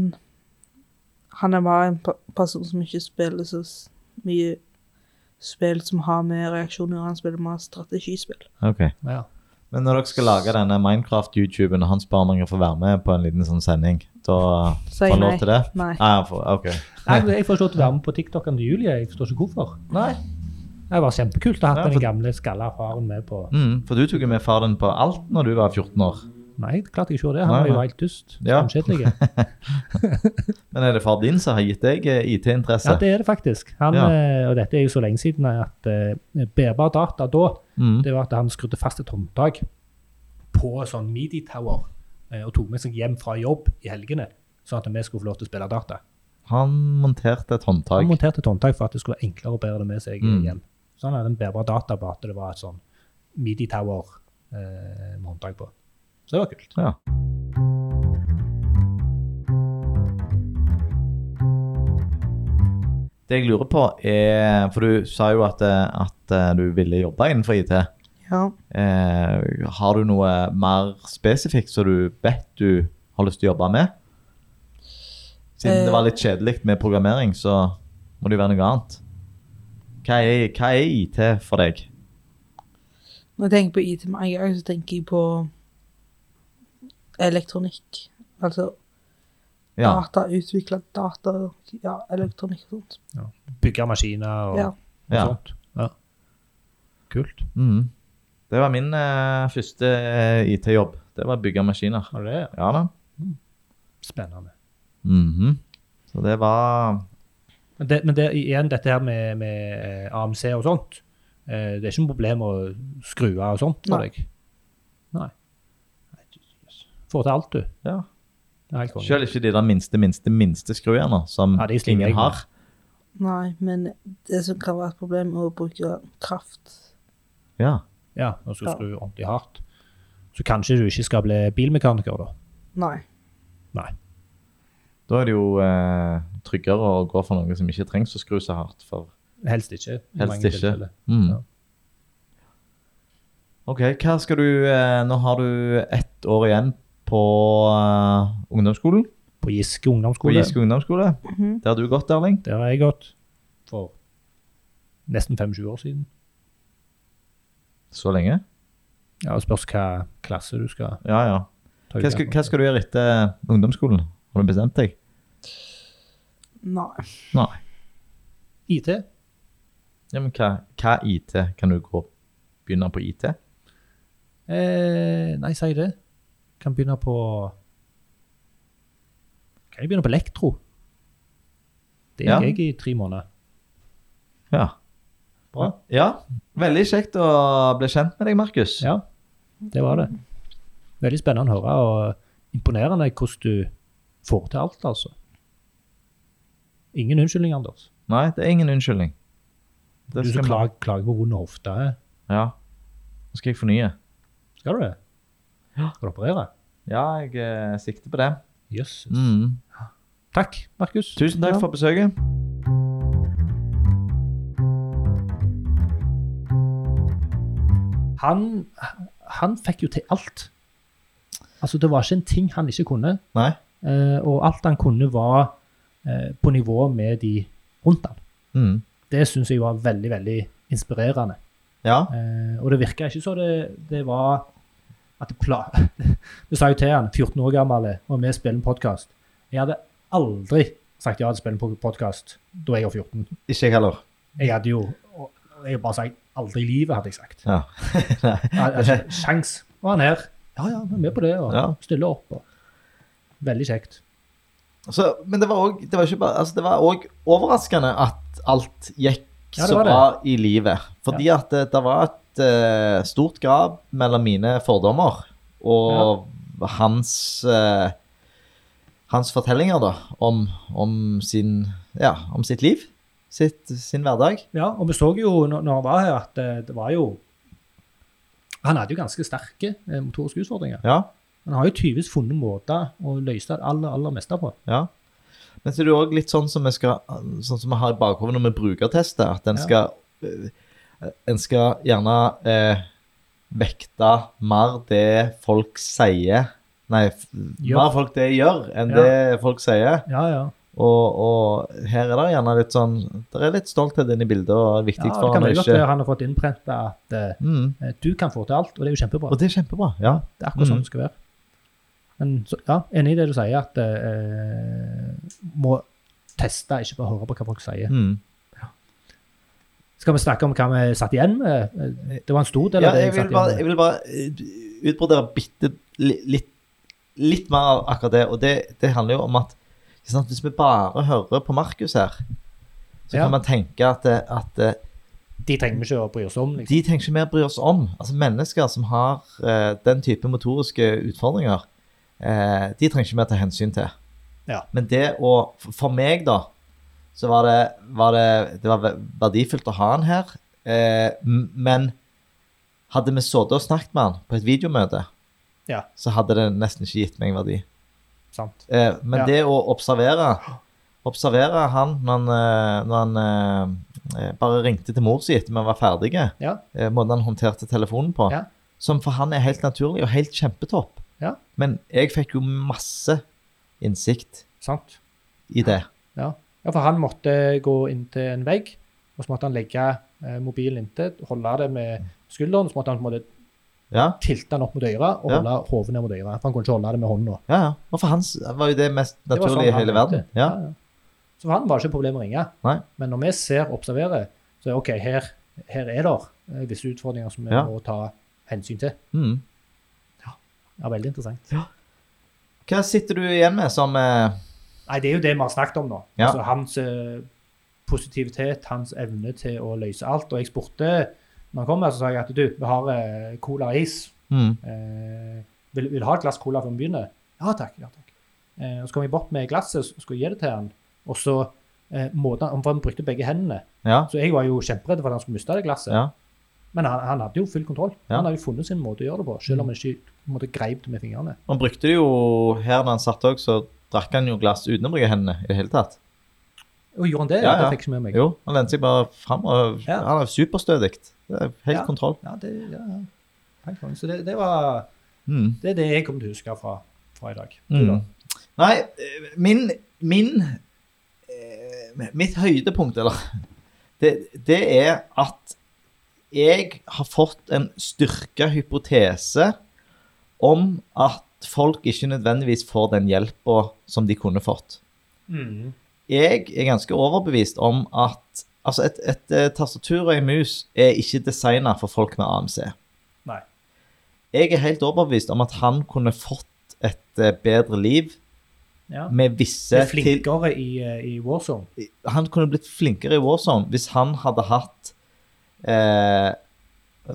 S3: han er bare en pa- person som ikke spiller så s- mye spill som har med reaksjoner. Han spiller mer strategispill.
S2: OK.
S1: Ja.
S2: Men når dere skal lage denne Minecraft-YouTuben, og han spør om han kan få være med på en liten sånn sending, da
S3: Sier
S2: får han lov
S3: nei.
S2: til det?
S3: Nei.
S2: Ah, han får- OK.
S1: Nei, men Jeg får ikke lov til å være med på TikTok-en til Julie. Jeg forstår ikke hvorfor.
S2: Nei.
S1: Det var kjempekult å ha
S2: Ja,
S1: hatt
S2: for-
S1: den gamle skalla faren med på
S2: Mm, for du tok jo med far din på alt når du var 14 år.
S1: Nei, det klarte jeg ikke å gjøre det. Han
S2: Nei,
S1: var jo
S2: nei.
S1: helt dust.
S2: [LAUGHS] Ja.
S1: Skamskjedelig.
S2: Men er det far din som har gitt deg eh, IT-interesse?
S1: Ja, det er det faktisk. Han,
S2: Ja.
S1: eh, Og dette er jo så lenge siden at eh, bærbar data da,
S2: mm.
S1: det var at han skrudde fast et håndtak på sånn midi-tower eh, og tok med seg hjem fra jobb i helgene, sånn at vi skulle få lov til å spille data.
S2: Han monterte et
S1: Han
S2: håndtak.
S1: monterte et håndtak for at det skulle være enklere å bære det med seg eh,
S2: Mm.
S1: hjem. Så han hadde en bærbar data på at det var et sånn midi-tower eh, med håndtak på. Så det var kult.
S2: Ja. Det jeg lurer på er, for du sa jo at, eh, at eh, du ville jobbe innenfor IT.
S3: Ja.
S2: Eh, har du noe mer spesifikt som du vet du har lyst til å jobbe med? Siden det var litt kjedelig med programmering, så må det jo være noe annet. Hva er, hva er IT for deg?
S3: Når jeg tenker på IT med en gang, så tenker jeg på elektronikk. Altså
S2: Ja.
S3: data, utvikla data, ja, elektronikk og sånt.
S1: Bygge maskiner og,
S3: Ja.
S1: og
S2: Ja.
S1: sånt. Ja. Kult.
S2: Mm. Det var min eh, første eh, IT-jobb. Det var å bygge maskiner.
S1: Var det det?
S2: Ja da.
S1: Spennende.
S2: Mhm. Så det var
S1: Men, det, men det, igjen, dette her med, med eh, AMC og sånt, eh, det er ikke noe problem å skru av og sånt for
S3: Nei.
S1: deg? Nei. Nei, Jesus. Får til alt, du.
S2: Ja.
S1: Det er helt konge.
S2: Selv ikke de der minste, minste, minste skruene som
S1: Ja, de sliter jeg
S2: ingen
S1: med.
S2: har.
S3: Nei, men det som kan være et problem, er å bruke kraft.
S2: Ja.
S1: Ja, og så
S3: Ja.
S1: skru ordentlig hardt. Så kanskje du ikke skal bli bilmekaniker, da.
S3: Nei.
S2: Da er det jo eh, tryggere å gå for noe som ikke trengs å skru så hardt for.
S1: Helst ikke. i
S2: Helst
S1: mange
S2: ikke.
S1: tilfeller.
S2: Mm.
S1: Ja.
S2: Ok, hva skal du eh, Nå har du ett år igjen på eh, ungdomsskolen.
S1: På Giske
S2: På
S1: ungdomsskole.
S2: Giske ungdomsskole.
S3: Mhm.
S2: Der har du gått, Erling.
S1: Der har jeg gått for nesten 25 år siden.
S2: Så lenge.
S1: Ja, og Spørs hva klasse du skal
S2: Ja, ja.
S1: ta
S2: Hva skal, hva skal du gjøre etter eh, ungdomsskolen? Har du bestemt deg?
S3: Nei.
S2: Nei.
S1: IT.
S2: Ja, men hva, hva IT? Kan du gå begynne på IT?
S1: Eh, nei, si det. Kan begynne på Kan jeg begynne på elektro? Det
S2: Ja.
S1: gikk jeg i tre måneder.
S2: Ja.
S1: Bra.
S2: Ja. Veldig kjekt å bli kjent med deg, Markus.
S1: Ja, det var det. Veldig spennende å høre, og imponerende hvordan du får til alt, altså. Ingen unnskyldning, Anders.
S2: Nei, det er ingen unnskyldning.
S1: Du
S2: Det
S1: som
S2: skal vi-
S1: klager, klager på vond hofte. eh?
S2: Ja. Nå skal jeg fornye.
S1: Skal du det? Skal du operere?
S2: Ja, jeg eh, sikter på det.
S1: Jøss.
S2: Mm.
S1: Takk, Markus.
S2: Tusen takk
S3: Ja.
S2: for besøket.
S1: Han, han fikk jo til alt. Altså, det var ikke en ting han ikke kunne.
S2: Nei.
S1: Eh, og alt han kunne, var eh, på nivå med de rundt han.
S2: Mm.
S1: Det syns jeg var veldig, veldig inspirerende.
S2: Ja.
S1: Eh, og det virka ikke så det, det var at det pla... [LAUGHS] Vi sa jo til han, 14 år gammel, og vi spiller en podkast. Jeg hadde aldri sagt ja til å spille en podkast da jeg var 14.
S2: Ikke jeg heller.
S1: Jeg hadde jo og jeg bare sagt aldri i livet, hadde jeg sagt.
S2: Ja. [LAUGHS]
S1: Jeg [LAUGHS] hadde ikke Sjans. Og han her. Ja, ja, vi er med på det, og
S2: Ja.
S1: stiller opp. Og. Veldig kjekt.
S2: Så, men det var òg det var ikke bare- altså, det var også overraskende at alt gikk
S1: Ja, det
S2: så
S1: var det.
S2: bra i livet. Fordi at det, det var et eh, stort grav mellom mine fordommer og hans eh, hans fortellinger da, om, om, sin, ja, om sitt liv, sitt, sin hverdag.
S1: Ja, og vi så jo når, når han var her, at eh, det var jo Han hadde jo ganske sterke eh, motoriske utfordringer.
S2: Ja,
S1: Men han har jo tydeligvis funnet måter å løse det aller, aller meste på.
S2: ja. Men så er det jo òg litt sånn som vi, skal, sånn som vi har i bakhodet når vi brukertester, at en
S1: Ja.
S2: skal eh, En skal gjerne eh, vekte mer det folk sier Nei, f-
S1: Gjør.
S2: mer folk det gjør, enn
S1: Ja.
S2: det folk sier.
S1: Ja, ja.
S2: Og, og her er det gjerne litt sånn Det er litt stolthet inni bildet, og er
S1: ja
S2: viktig
S1: det
S2: for
S1: kan
S2: han å
S1: være godt
S2: ikke
S1: at han har fått innprenta at eh,
S2: mm.
S1: du kan få til alt, og det er jo kjempebra.
S2: Og det er kjempebra. Ja.
S1: Det er akkurat
S2: Mm.
S1: sånn det skal være. Men så, ja, enig i det du sier, at eh, må teste, ikke bare høre på hva folk sier.
S2: Mm.
S1: Skal vi snakke om hva vi satt igjen med? Eh, Det var en stor del
S2: Ja,
S1: av det
S2: jeg
S1: jeg
S2: vil
S1: satt
S2: bare,
S1: igjen
S2: jeg
S1: med.
S2: vil bare eh, utbrodere bitte li- litt, litt mer av akkurat det. Og det, det handler jo om at ikke sant, hvis vi bare hører på Markus her, så
S1: Ja.
S2: kan man tenke at, eh, at eh,
S1: De trenger vi ikke å bry oss om. Liksom.
S2: de trenger ikke mer bry oss om. Altså mennesker som har eh, den type motoriske utfordringer, eh, de trenger ikke mer ta hensyn til.
S1: Ja.
S2: Men det å for- For meg, da, så var det, var det, det var ve- verdifullt å ha han her. Eh, m- men hadde vi sittet og snakket med han på et videomøte,
S1: Ja.
S2: så hadde det nesten ikke gitt meg verdi.
S1: Sant.
S2: Eh, men
S1: Ja.
S2: det å observere Observere han når han, eh, når han eh, eh, bare ringte til mor si etter vi var ferdige
S1: Ja.
S2: eh, måten han håndterte telefonen på,
S1: Ja.
S2: som for han er helt naturlig og helt kjempetopp.
S1: Ja.
S2: Men jeg fikk jo masse innsikt
S1: Sant.
S2: i det.
S1: Ja. ja, for han måtte gå inntil en vegg, og så måtte han legge eh, mobilen inntil, holde det med skulderen, så måtte han på en måte
S2: Ja,
S1: tilte den opp mot øret og
S2: Ja.
S1: holde hodet ned mot øret. For han kunne ikke holde det med hånda.
S2: ja, ja. Og for hans var jo det mest
S1: Det var sånn
S2: naturlige i
S1: han
S2: hele
S1: tenkte.
S2: verden. Ja.
S1: Ja, ja. Så for han var det ikke et problem å ringe.
S2: Nei.
S1: Men når vi ser og observerer, så er det OK, her, her er det eh, visse utfordringer som vi
S2: Ja.
S1: må ta hensyn til.
S2: Mm.
S1: Ja, Veldig interessant.
S2: Hva sitter du igjen med som eh,
S1: Nei, Det er jo det vi har snakket om nå.
S2: Ja.
S1: Altså Hans eh, positivitet, hans evne til å løse alt. Og jeg spurte når han kom her, så sa jeg at du, vi har eh, cola og is.
S2: mm.
S1: Eh, vil, vil du ha et glass cola før vi begynner? Ja takk. ja takk. Eh, og så kom jeg bort med glasset og skulle gi det til han. Og så eh, måten han, for han brukte begge hendene.
S2: Ja.
S1: Så jeg var jo kjemperedd for at han skulle miste det glasset.
S2: Ja.
S1: Men han, han hadde jo full kontroll.
S2: Ja.
S1: Han hadde jo funnet sin måte å gjøre det på, selv om han ikke på en måte, greip det med fingrene.
S2: Han brukte det jo her når han satt òg, så drakk han jo glass uten å bruke hendene i det hele tatt.
S1: Og gjorde han det?
S2: Ja, ja.
S1: Det fikk jeg ikke med meg.
S2: Jo, han lente seg bare framover.
S1: Ja.
S2: Han er superstødig. Det er helt
S1: Ja.
S2: kontroll.
S1: Ja, det, ja, ja. Fine point. Så det, det var
S2: Mm.
S1: det, er det jeg kommer til å huske fra, fra i dag. Du da?
S2: Mm. Nei, eh, min, min eh, Mitt høydepunkt, eller det, det er at jeg har fått en styrka hypotese om at folk ikke nødvendigvis får den hjelpa som de kunne fått.
S1: Mm.
S2: Jeg er ganske overbevist om at altså et, et eh, tastatur og en mus er ikke designa for folk med AMC.
S1: Nei.
S2: Jeg er helt overbevist om at han kunne fått et eh, bedre liv
S1: Ja.
S2: med
S1: Det
S2: visse
S1: er
S2: til,
S1: flinkere i, eh, i Warzone.
S2: han kunne blitt flinkere i Warzone hvis han hadde hatt eh,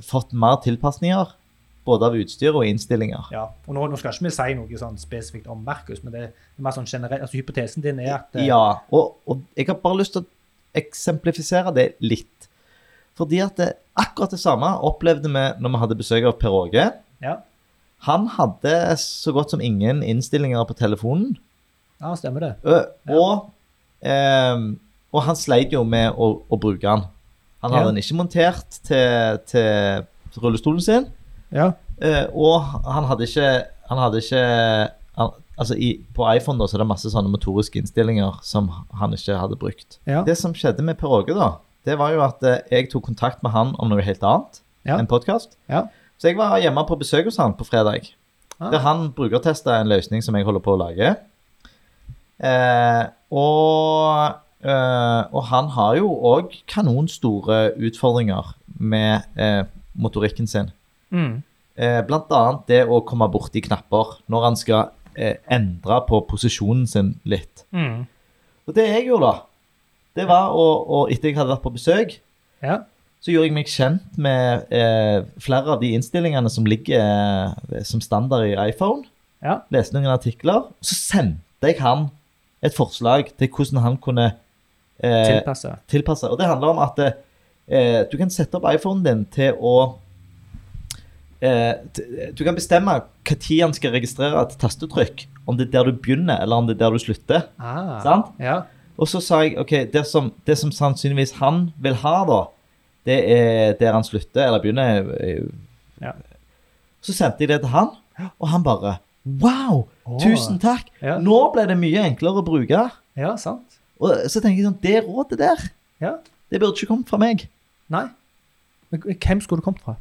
S2: fått mer tilpasninger, både av utstyr og innstillinger.
S1: Ja. Og nå, nå skal ikke vi si noe sånn spesifikt om Markus, men det er mer sånn generelt. Altså, hypotesen din er at eh,
S2: Ja, og, og jeg har bare lyst til å eksemplifisere det litt. Fordi at det, akkurat det samme opplevde vi når vi hadde besøk av Per Åge.
S1: ja.
S2: Han hadde så godt som ingen innstillinger på telefonen.
S1: Ja, stemmer det.
S2: Ø, og, ehm, og han sleit jo med å, å bruke den. Han hadde
S1: Ja.
S2: den ikke montert til, til rullestolen sin,
S1: Ja.
S2: eh, og han hadde ikke, han hadde ikke han, Altså i, på iPhone da, så er det masse sånne motoriske innstillinger som han ikke hadde brukt.
S1: Ja.
S2: Det som skjedde med Per Åge, da, det var jo at eh, jeg tok kontakt med han om noe helt annet
S1: Ja.
S2: enn podkast.
S1: Ja.
S2: Så jeg var hjemme på besøk hos han på fredag.
S1: Ah.
S2: Der han brukertesta en løsning som jeg holder på å lage. Eh, og, eh, og han har jo òg kanonstore utfordringer med eh, motorikken sin.
S1: Mm.
S2: Eh, blant annet det å komme borti knapper når han skal eh, endre på posisjonen sin litt.
S1: Mm.
S2: Og det jeg gjorde, da, det var å, å Etter jeg hadde vært på besøk,
S1: Ja.
S2: så gjorde jeg meg kjent med eh, flere av de innstillingene som ligger eh, som standard i iPhone.
S1: Ja.
S2: Leste noen artikler. og Så sendte jeg han et forslag til hvordan han kunne eh,
S1: Tilpasse.
S2: tilpasse. Og det handler om at eh, du kan sette opp iPhonen din til å eh, t- Du kan bestemme hva tid han skal registrere et tastetrykk. Om det er der du begynner, eller om det er der du slutter.
S1: Ah.
S2: Sant?
S1: Ja.
S2: Og så sa jeg ok, det som, det som sannsynligvis han vil ha, da, det er der han slutter eller begynner. eh,
S1: Ja.
S2: Så sendte jeg det til han, og han bare Wow!
S1: Åh.
S2: Tusen takk!
S1: Ja.
S2: Nå ble det mye enklere å bruke.
S1: ja, sant.
S2: Og så tenker jeg sånn Det rådet der,
S1: Ja.
S2: det burde ikke kommet fra meg.
S1: Nei. Men hvem skulle det kommet fra?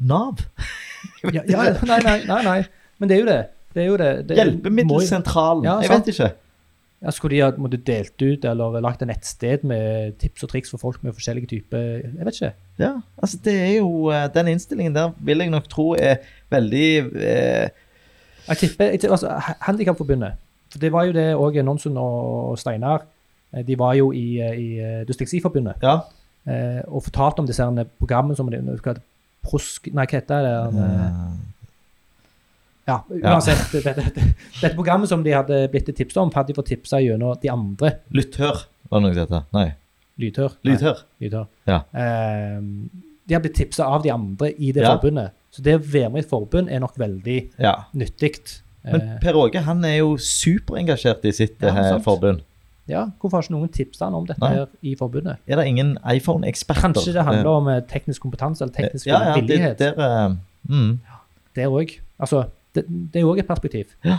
S2: Nav.
S1: [LAUGHS] Ja, ja,
S2: [LAUGHS]
S1: nei, nei, nei, nei. Men det er jo det. det, er jo det. det må jo-
S2: Hjelpemiddelsentralen.
S1: Ja,
S2: jeg
S1: sant.
S2: vet ikke.
S1: Ja, skulle de ha måtte delt ut eller lagt et nettsted med tips og triks for folk med forskjellige typer Jeg vet ikke.
S2: Ja, altså det er jo eh, Den innstillingen der vil jeg nok tro er veldig eh,
S1: Jeg tipper, jeg tipper altså, Ha- Handikapforbundet. For det var jo det òg Nonsen og Steinar. eh, De var jo i, eh, i eh, Dysleksiforbundet
S2: Ja.
S1: eh, og fortalte om disse herne programmene som de hva, Prosk... Nei, hva heter det? eh,
S2: Mm.
S1: Ja, uansett. Dette, dette, dette programmet som de hadde blitt tipset om, hadde de fått tipsa gjennom de andre.
S2: Lytthør, var det noe som heter. Nei.
S1: Lydhør. Nei,
S2: Lydhør.
S1: lydhør.
S2: Ja.
S1: Eh, de har blitt tipsa av de andre i det
S2: Ja.
S1: forbundet. Så det å være med i et forbund er nok veldig
S2: Ja.
S1: nyttig.
S2: Men
S1: Eh,
S2: Per Åge han er jo superengasjert i sitt
S1: Ja,
S2: eh,
S1: sant.
S2: forbund.
S1: ja, hvorfor har ikke noen tipsa han om dette
S2: Nei.
S1: her i forbundet?
S2: Er det ingen iPhone-eksperter?
S1: Kanskje det handler om eh, teknisk kompetanse eller teknisk
S2: ja, ja, det,
S1: villighet.
S2: der, eh, mm,
S1: Der òg. Altså, det, det er jo òg et perspektiv.
S2: Ja.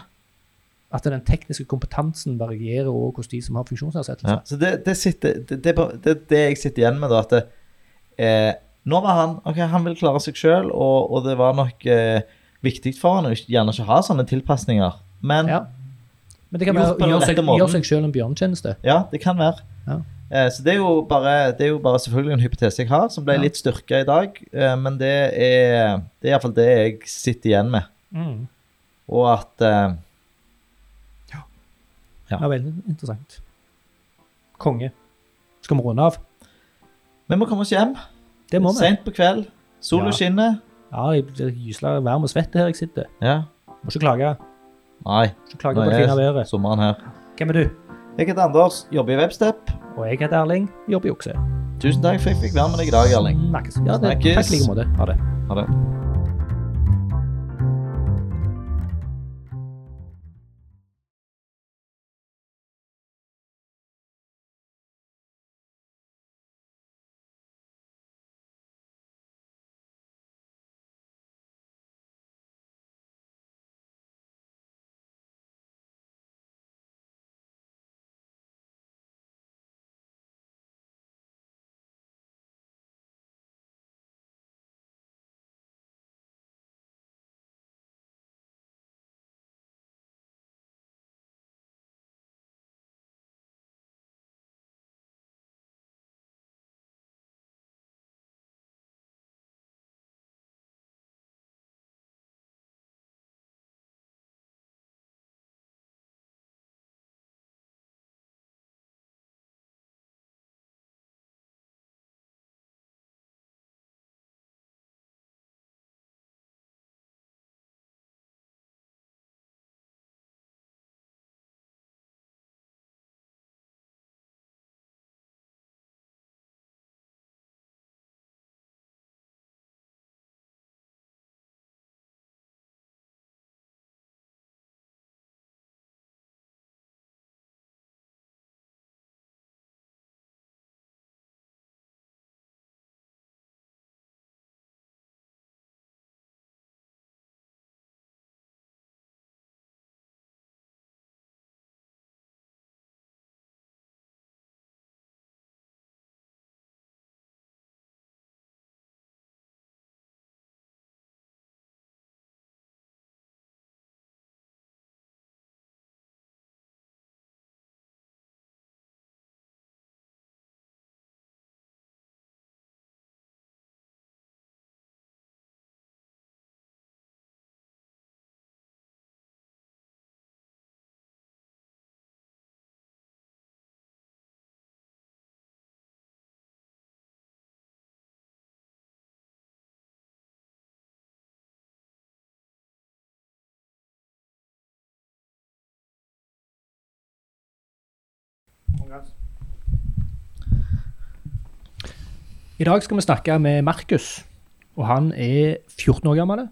S1: At den tekniske kompetansen varierer også hos de som har
S2: ja.
S1: funksjonsnedsettelse.
S2: Så det, det, sitter, det, det, er bare- det, det jeg sitter igjen med, da, at det, eh, nå var han ok, han vil klare seg sjøl, og, og det var nok eh, viktig for han å ikke- gjerne ikke ha sånne tilpasninger. Men ja.
S1: Ja. Men det kan
S2: Gjort
S1: være
S2: på den
S1: gjør
S2: rette
S1: seg,
S2: måten.
S1: gjør seg selv en bjørnetjeneste.
S2: det kan være.
S1: Ja.
S2: Eh, Så det er, jo bare, det er jo bare selvfølgelig en hypotese jeg har, som ble
S1: Ja.
S2: litt styrka i dag. eh, Men det er, det er iallfall det jeg sitter igjen med.
S1: Mm.
S2: Og at eh, Ja.
S1: Ja. veldig interessant. Konge. Skal vi runde av?
S2: vi må komme oss hjem
S1: Det må vi.
S2: seint på kveld. Sola
S1: Ja.
S2: skinner.
S1: Ja, jeg blir gysla varm og svett her jeg sitter.
S2: Ja.
S1: Må ikke klage.
S2: Nei,
S1: Må ikke klage
S2: nå
S1: på det fine
S2: er
S1: været.
S2: sommeren her.
S1: Hvem er du?
S2: Jeg heter Anders, jobber i Webstep.
S1: Og jeg heter Erling. Jobber i okse.
S2: Tusen takk for jeg fikk være med deg i dag, Erling.
S1: Snakkes. Ja, det,
S2: Snakkes.
S1: takk i like måte. Ha det.
S2: Ha det.
S1: I dag skal vi snakke med Markus, og han er 14 år gammel.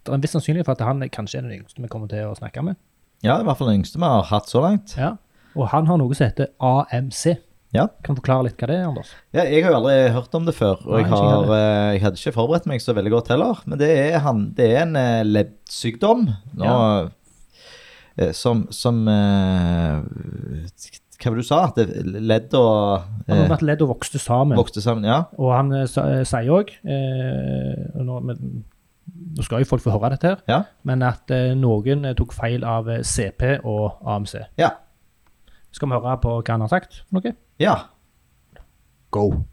S1: Det er en viss sannsynlighet for at han er kanskje er den yngste vi kommer til å snakke med.
S2: Ja, i hvert fall den yngste vi har hatt så langt.
S1: Ja. Og han har noe som heter AMC.
S2: Ja.
S1: Kan du forklare litt hva det er, Anders?
S2: Ja, jeg har jo aldri hørt om det før, og
S1: Nei,
S2: jeg,
S1: ikke
S2: har,
S1: heller.
S2: eh, jeg hadde ikke forberedt meg så veldig godt heller. Men det er, han, det er en eh, leddsykdom nå, eh, som, som eh, Hva var det du sa? At det- ledd og
S1: Han har
S2: eh,
S1: vært ledd og vokste sammen.
S2: vokste sammen? Ja.
S1: Og han eh, sa- eh, sier òg nå, men- nå skal jo folk få høre dette, her,
S2: Ja.
S1: men at eh, noen eh, tok feil av eh, CP og AMC.
S2: Ja.
S1: Skal vi høre på hva han har sagt? for Noe?
S2: ja.
S1: Go.